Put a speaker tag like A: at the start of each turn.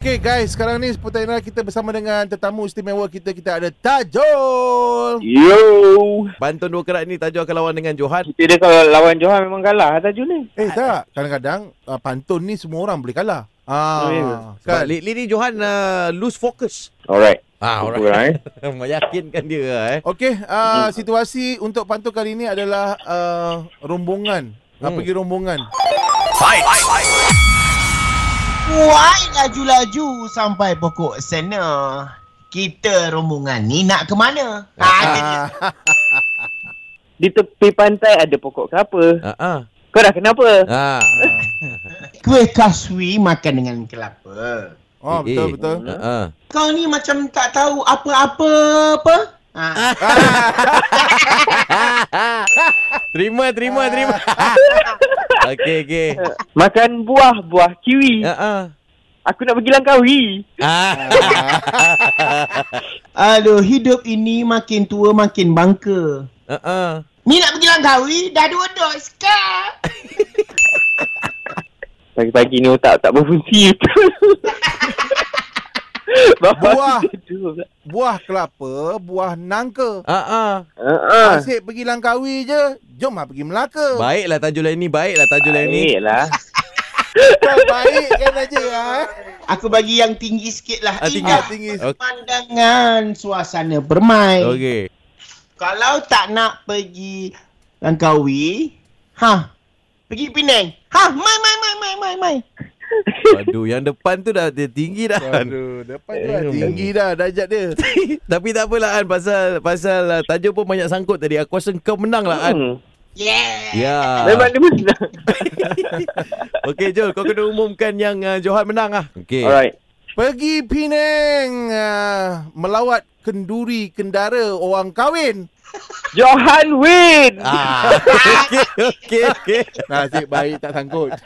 A: Okay guys, sekarang ni Putera kita bersama dengan tetamu istimewa kita Kita ada Tajul
B: Yo,
C: Bantuan dua kerat ni Tajul akan lawan dengan Johan.
B: kita dia kalau lawan Johan memang kalah Tajul ni.
A: Eh tak, kadang-kadang uh, pantun ni semua orang boleh kalah
B: Oh, ya ke?
A: Ah,
C: Sebab
A: kan?
C: lately ni Johan uh, lose focus.
B: Alright.
C: Ah,
B: Alright. Eh.
C: Meyakinkan dia lah, eh.
A: Okay, uh, situasi untuk pantun kali ni adalah uh, rombongan hmm.
C: Hmm.
A: Pergi rombongan
D: Wai laju-laju sampai pokok sana. Kita rombongan ni nak ke mana? Ha,
A: ah,
B: Di tepi pantai ada pokok kelapa.
C: Ah, ah.
B: Kau dah kenapa?
C: Ah.
D: Kuih kaswi makan dengan kelapa.
A: Oh
C: Eh, eh.
A: betul-betul
C: Ah, ah.
D: Kau ni macam tak tahu apa-apa apa. Ha.
C: ah. terima, terima, terima. okey, okey.
B: Makan buah, buah kiwi.
C: Ah, ah.
B: Aku nak pergi Langkawi.
C: Ah.
D: Aduh, hidup ini makin tua makin bangka.
C: Ah, ah.
D: Ni nak pergi Langkawi, dah dua dok sekarang.
B: Pagi-pagi ni otak tak berfungsi. Bapak
A: Buah.
B: aku tidur pula.
A: Buah kelapa, buah nangka
C: Ah, ah.
B: Ah, ah.
A: Asyik pergi Langkawi je Jom lah pergi Melaka
C: Baiklah Tajul lain ni, baiklah Tajul lain ni.
B: Baiklah.
A: Baik kan aja ah.
D: Aku bagi yang tinggi sikit lah.
C: Ah, tinggi.
D: Indah
A: Tinggi
C: Okey.
D: pandangan, suasana bermain.
C: Okey.
D: Kalau tak nak pergi Langkawi, ha, pergi Penang. Ha, mai mai mai mai mai mai.
C: Aduh, yang depan tu dah dia tinggi dah.
A: Aduh, depan tu dah
C: Eh,
A: tinggi dah darjat dia
C: Tapi tak apalah An pasal pasal uh, Tajul pun banyak sangkut tadi. Aku rasa kau menang lah An.
B: Hmm.
D: Yeah.
C: Ya.
B: Memang dia menang.
C: Okey Jol, kau kena umumkan yang uh, Johan menang ah. Okey.
B: Alright.
A: Pergi Penang uh, melawat kenduri kendara orang kahwin.
B: Johan win.
C: Ah. Okey, okey, okey.
A: Nasib baik tak sangkut.